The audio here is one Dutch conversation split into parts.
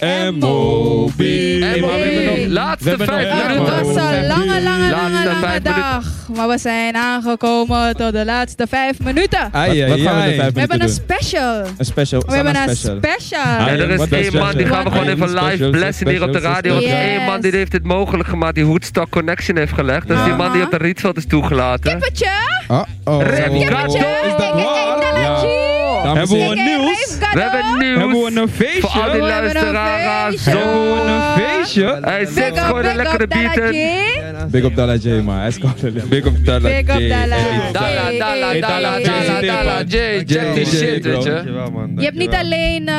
en Moby. En Moby. Hey. Laatste We hebben vijf nog- minuten. Ja, Rutte. Het Nou, maar we was hebben nog een vijf lange, minuten. lange, Laatste lange, lange vijf minuten. dag. Maar we zijn aangekomen tot de laatste vijf minuten. Wat- Wat gaan we in de vijf We hebben minuten een doen? special. Een special. We hebben een special. Ah, En er Wat is was één dat, man, die zeg? gaan we gewoon Wat? even live Special, blessen hier op de special, radio. Er is special. één man die heeft dit mogelijk gemaakt, die Woodstock Connection heeft gelegd. Dat is die man die op de Rietveld is toegelaten. Kippertje. Oh, oh. Remgado! Hebben we een nieuws? We hebben Hebben we nieuws een voor al feestje? die We hebben een luisteraars. feestje. Zo. Hebben we een feestje? Hij zit gewoon een lekkere beat in. Big up Dalla J, man. Hij is gewoon Big up Dalla Big J. up Dalla. Dala, dala, dala, dala, dala, Jay, check die shit, weet je. Dankjewel, man. Je hebt niet alleen eh,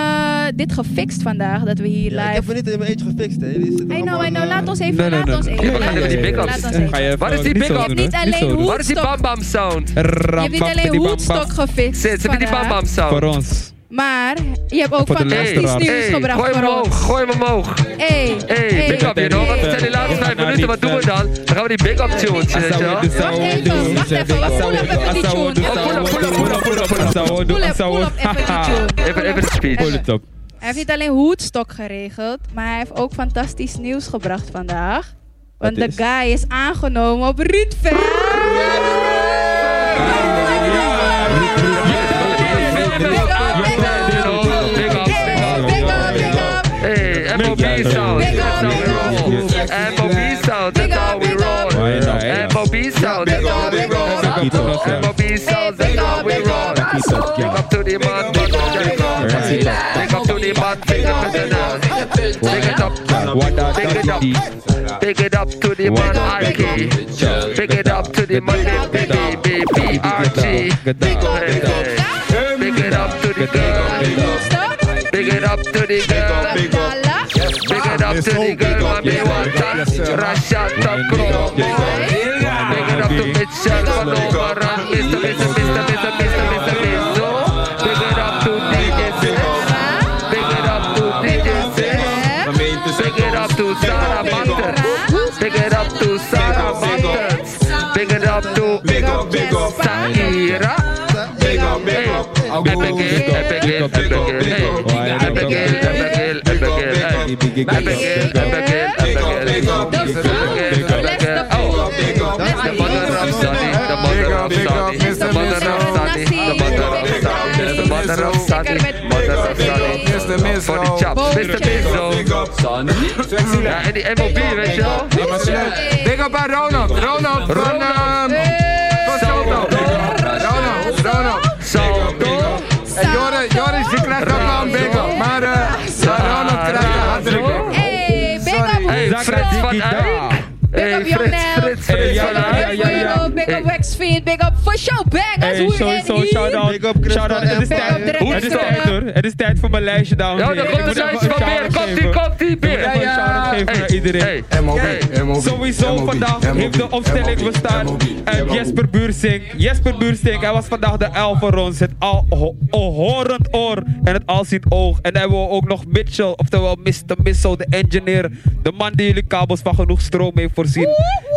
dit gefixt vandaag, dat we hier Ja, ik heb live... er niet in mijn eentje gefixt, hè. Jullie zitten I know, I allemaal, know. eh, Laat ons even, Nee, nee, laat nee, ons nee. even. Ja, ja, ja, die big ups. Laat ons even. Ga je even Waar is die niet zo big up? doen, Je hebt hoor. niet zo alleen doen. hoe- Waar is die Bam Bam sound? Je hebt niet alleen hoedstok gefixt Zit, heb je die Bam vandaag, Bam Voor sound? ons. maar je hebt ook Voor de fantastisch luisteraars. nieuws gebracht gooi hem voor omhoog, ons. gooi hem omhoog. Hey, Hey, big up, you know. Want we zijn die laatste vijf minuten, wat doen we dan? Dan gaan we die big up tunes, weet je wel. Wacht even, wacht even. We voelen even die tune. Pull up, pull up, pull up, pull up, pull up. Pull up, pull up even die tune. Even, even de Pull speech. it up. Hij heeft niet alleen hoedstok geregeld, maar hij heeft ook fantastisch nieuws gebracht vandaag. Want Wat de is? guy is aangenomen op Rietveld. Hey, big up, big up. Hey, MOB sound. That's how we roll. MOB sound. That's how we roll. MOB sound. That's how we roll. MOB sound. That's how we roll. Big up to the man, big up to the man. Big up to the man, big up to the man. Big it up, big it up. Big it up to the man, RG. Big it up to the man, baby, baby, RG. Hey. Big it up to the girl. Hoedstok. Big it up to the girl. Big dollar. Big it up to the girl, man, we want that. Russia, top crow. Big it up to Mitchell, Manova, Run, Mr. Mr. Mr. Mr. Mr. Mr. Mizzo. Big it up to DJ Six. Big it up to DJ Six. Big it up to Sarah Buttons. Big it up to Sarah Buttons. Big it up to Big up, big up, Saira. big up, big Hey, up. Abigail, Abigail, Abigail, hey. Abigail, Abigail, Abigail, hey. Abigail, Abigail, Abigail. Abigail, Abigail, oh. The mother of Sunny, the mother of Sunny, the mother of Sunny, the mother of Sunny, the mother of Sunny, mother of Sunny. For the chop, Mr. Bizzo. Ja, en die MOB, weet je wel. Big up aan Ronald. Ronald van... um, ehm, Van Salto. Ronald, Ronald. Salto. En Joris, Joris, je krijgt ook wel een big up. Maar eh, Ronald krijgt een hartelijk big up. Hey, big up Hey, Fred Hoedstok. van Eyck. Big Hey, up your Fred, name. Fred, Fred Big up van Eyck. Willow, Big up Hey. Waxfield, big up for show bang. That's Hey, who we in sowieso, here. shout-out. Big up, Christel Shout-out, het is en tijd. Paul. Het is tijd, hoor. Het is tijd voor mijn lijstje, dames en Ja, heren. dan komt Ik het moet lijstje even van een meer. shout-out Komt die, geven. komt die, Ik moet beer. even een shout-out geven naar iedereen. MOB, MOB. Sowieso MOB, vandaag heeft de opstelling bestaan Eh, uit Jesper Buursink. Jesper Buursink, hij was vandaag de L voor ons. Het al ho- ho- horend oor en het alziend oog. En dan hebben we ook nog Mitchell, oftewel Mr. Missel, de engineer. De man die jullie kabels van genoeg stroom heeft voorzien.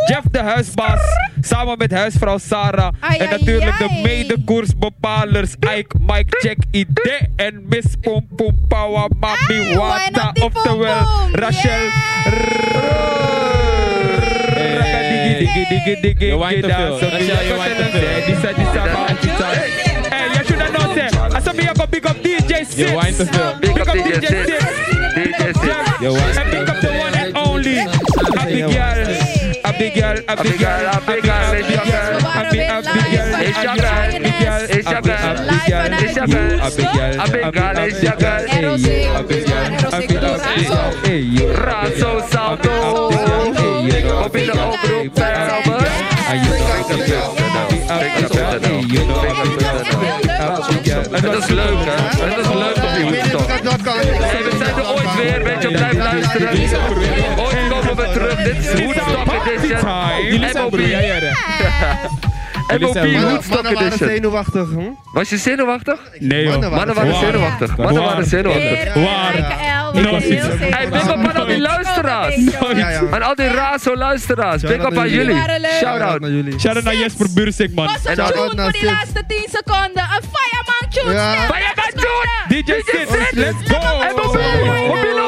Jeff de huisbaas, samen met huisvrouw Sarah. Ai, En ai, natuurlijk de ai. medekoersbepalers Ike, Mike, Check, ID en Miss Pom Pom Power Mami Ai, why Wata. not die Oftewel pom pom? Rachel. You want to feel. Rachel, you want to feel. Hey, you should have known that. I said me I go big up DJ Six. You want to feel. Big up DJ Six. DJ Six. You want And big up the one and only Abigail. Abigail, Abigail, Abigail, Abigail, Abigail, Abigail, It's your girl. It's your girl. Abigail, it's your girl. Razo Salto. Op in de oproep bij Albert. En dat is leuk, hè? En dat is leuk op die hoedstok. Hey, we zijn er ooit weer, weet je, blijf luisteren. Ooit komen we terug. Dit is Woodstock Edition. MOB. MOB Woodstock Mannen waren Edition. zenuwachtig, hm? Was je zenuwachtig? Nee, Mannen joh. Mannen waren Wow. zenuwachtig. Mannen Wow. waren zenuwachtig. Hey, big up aan al die luisteraars. Ja, ja. Aan al die razo luisteraars. Big up aan Shout-out naar jullie. jullie. Shout-out Shout-out. naar jullie. Shout out naar Jesper Buursink, man. Was een En tune dan- voor die dan- laatste 10 seconden. Een fireman tune. Ja. snel, Fireman snel, snel. DJ Six, let's go! Hey, Bobby, Bobby,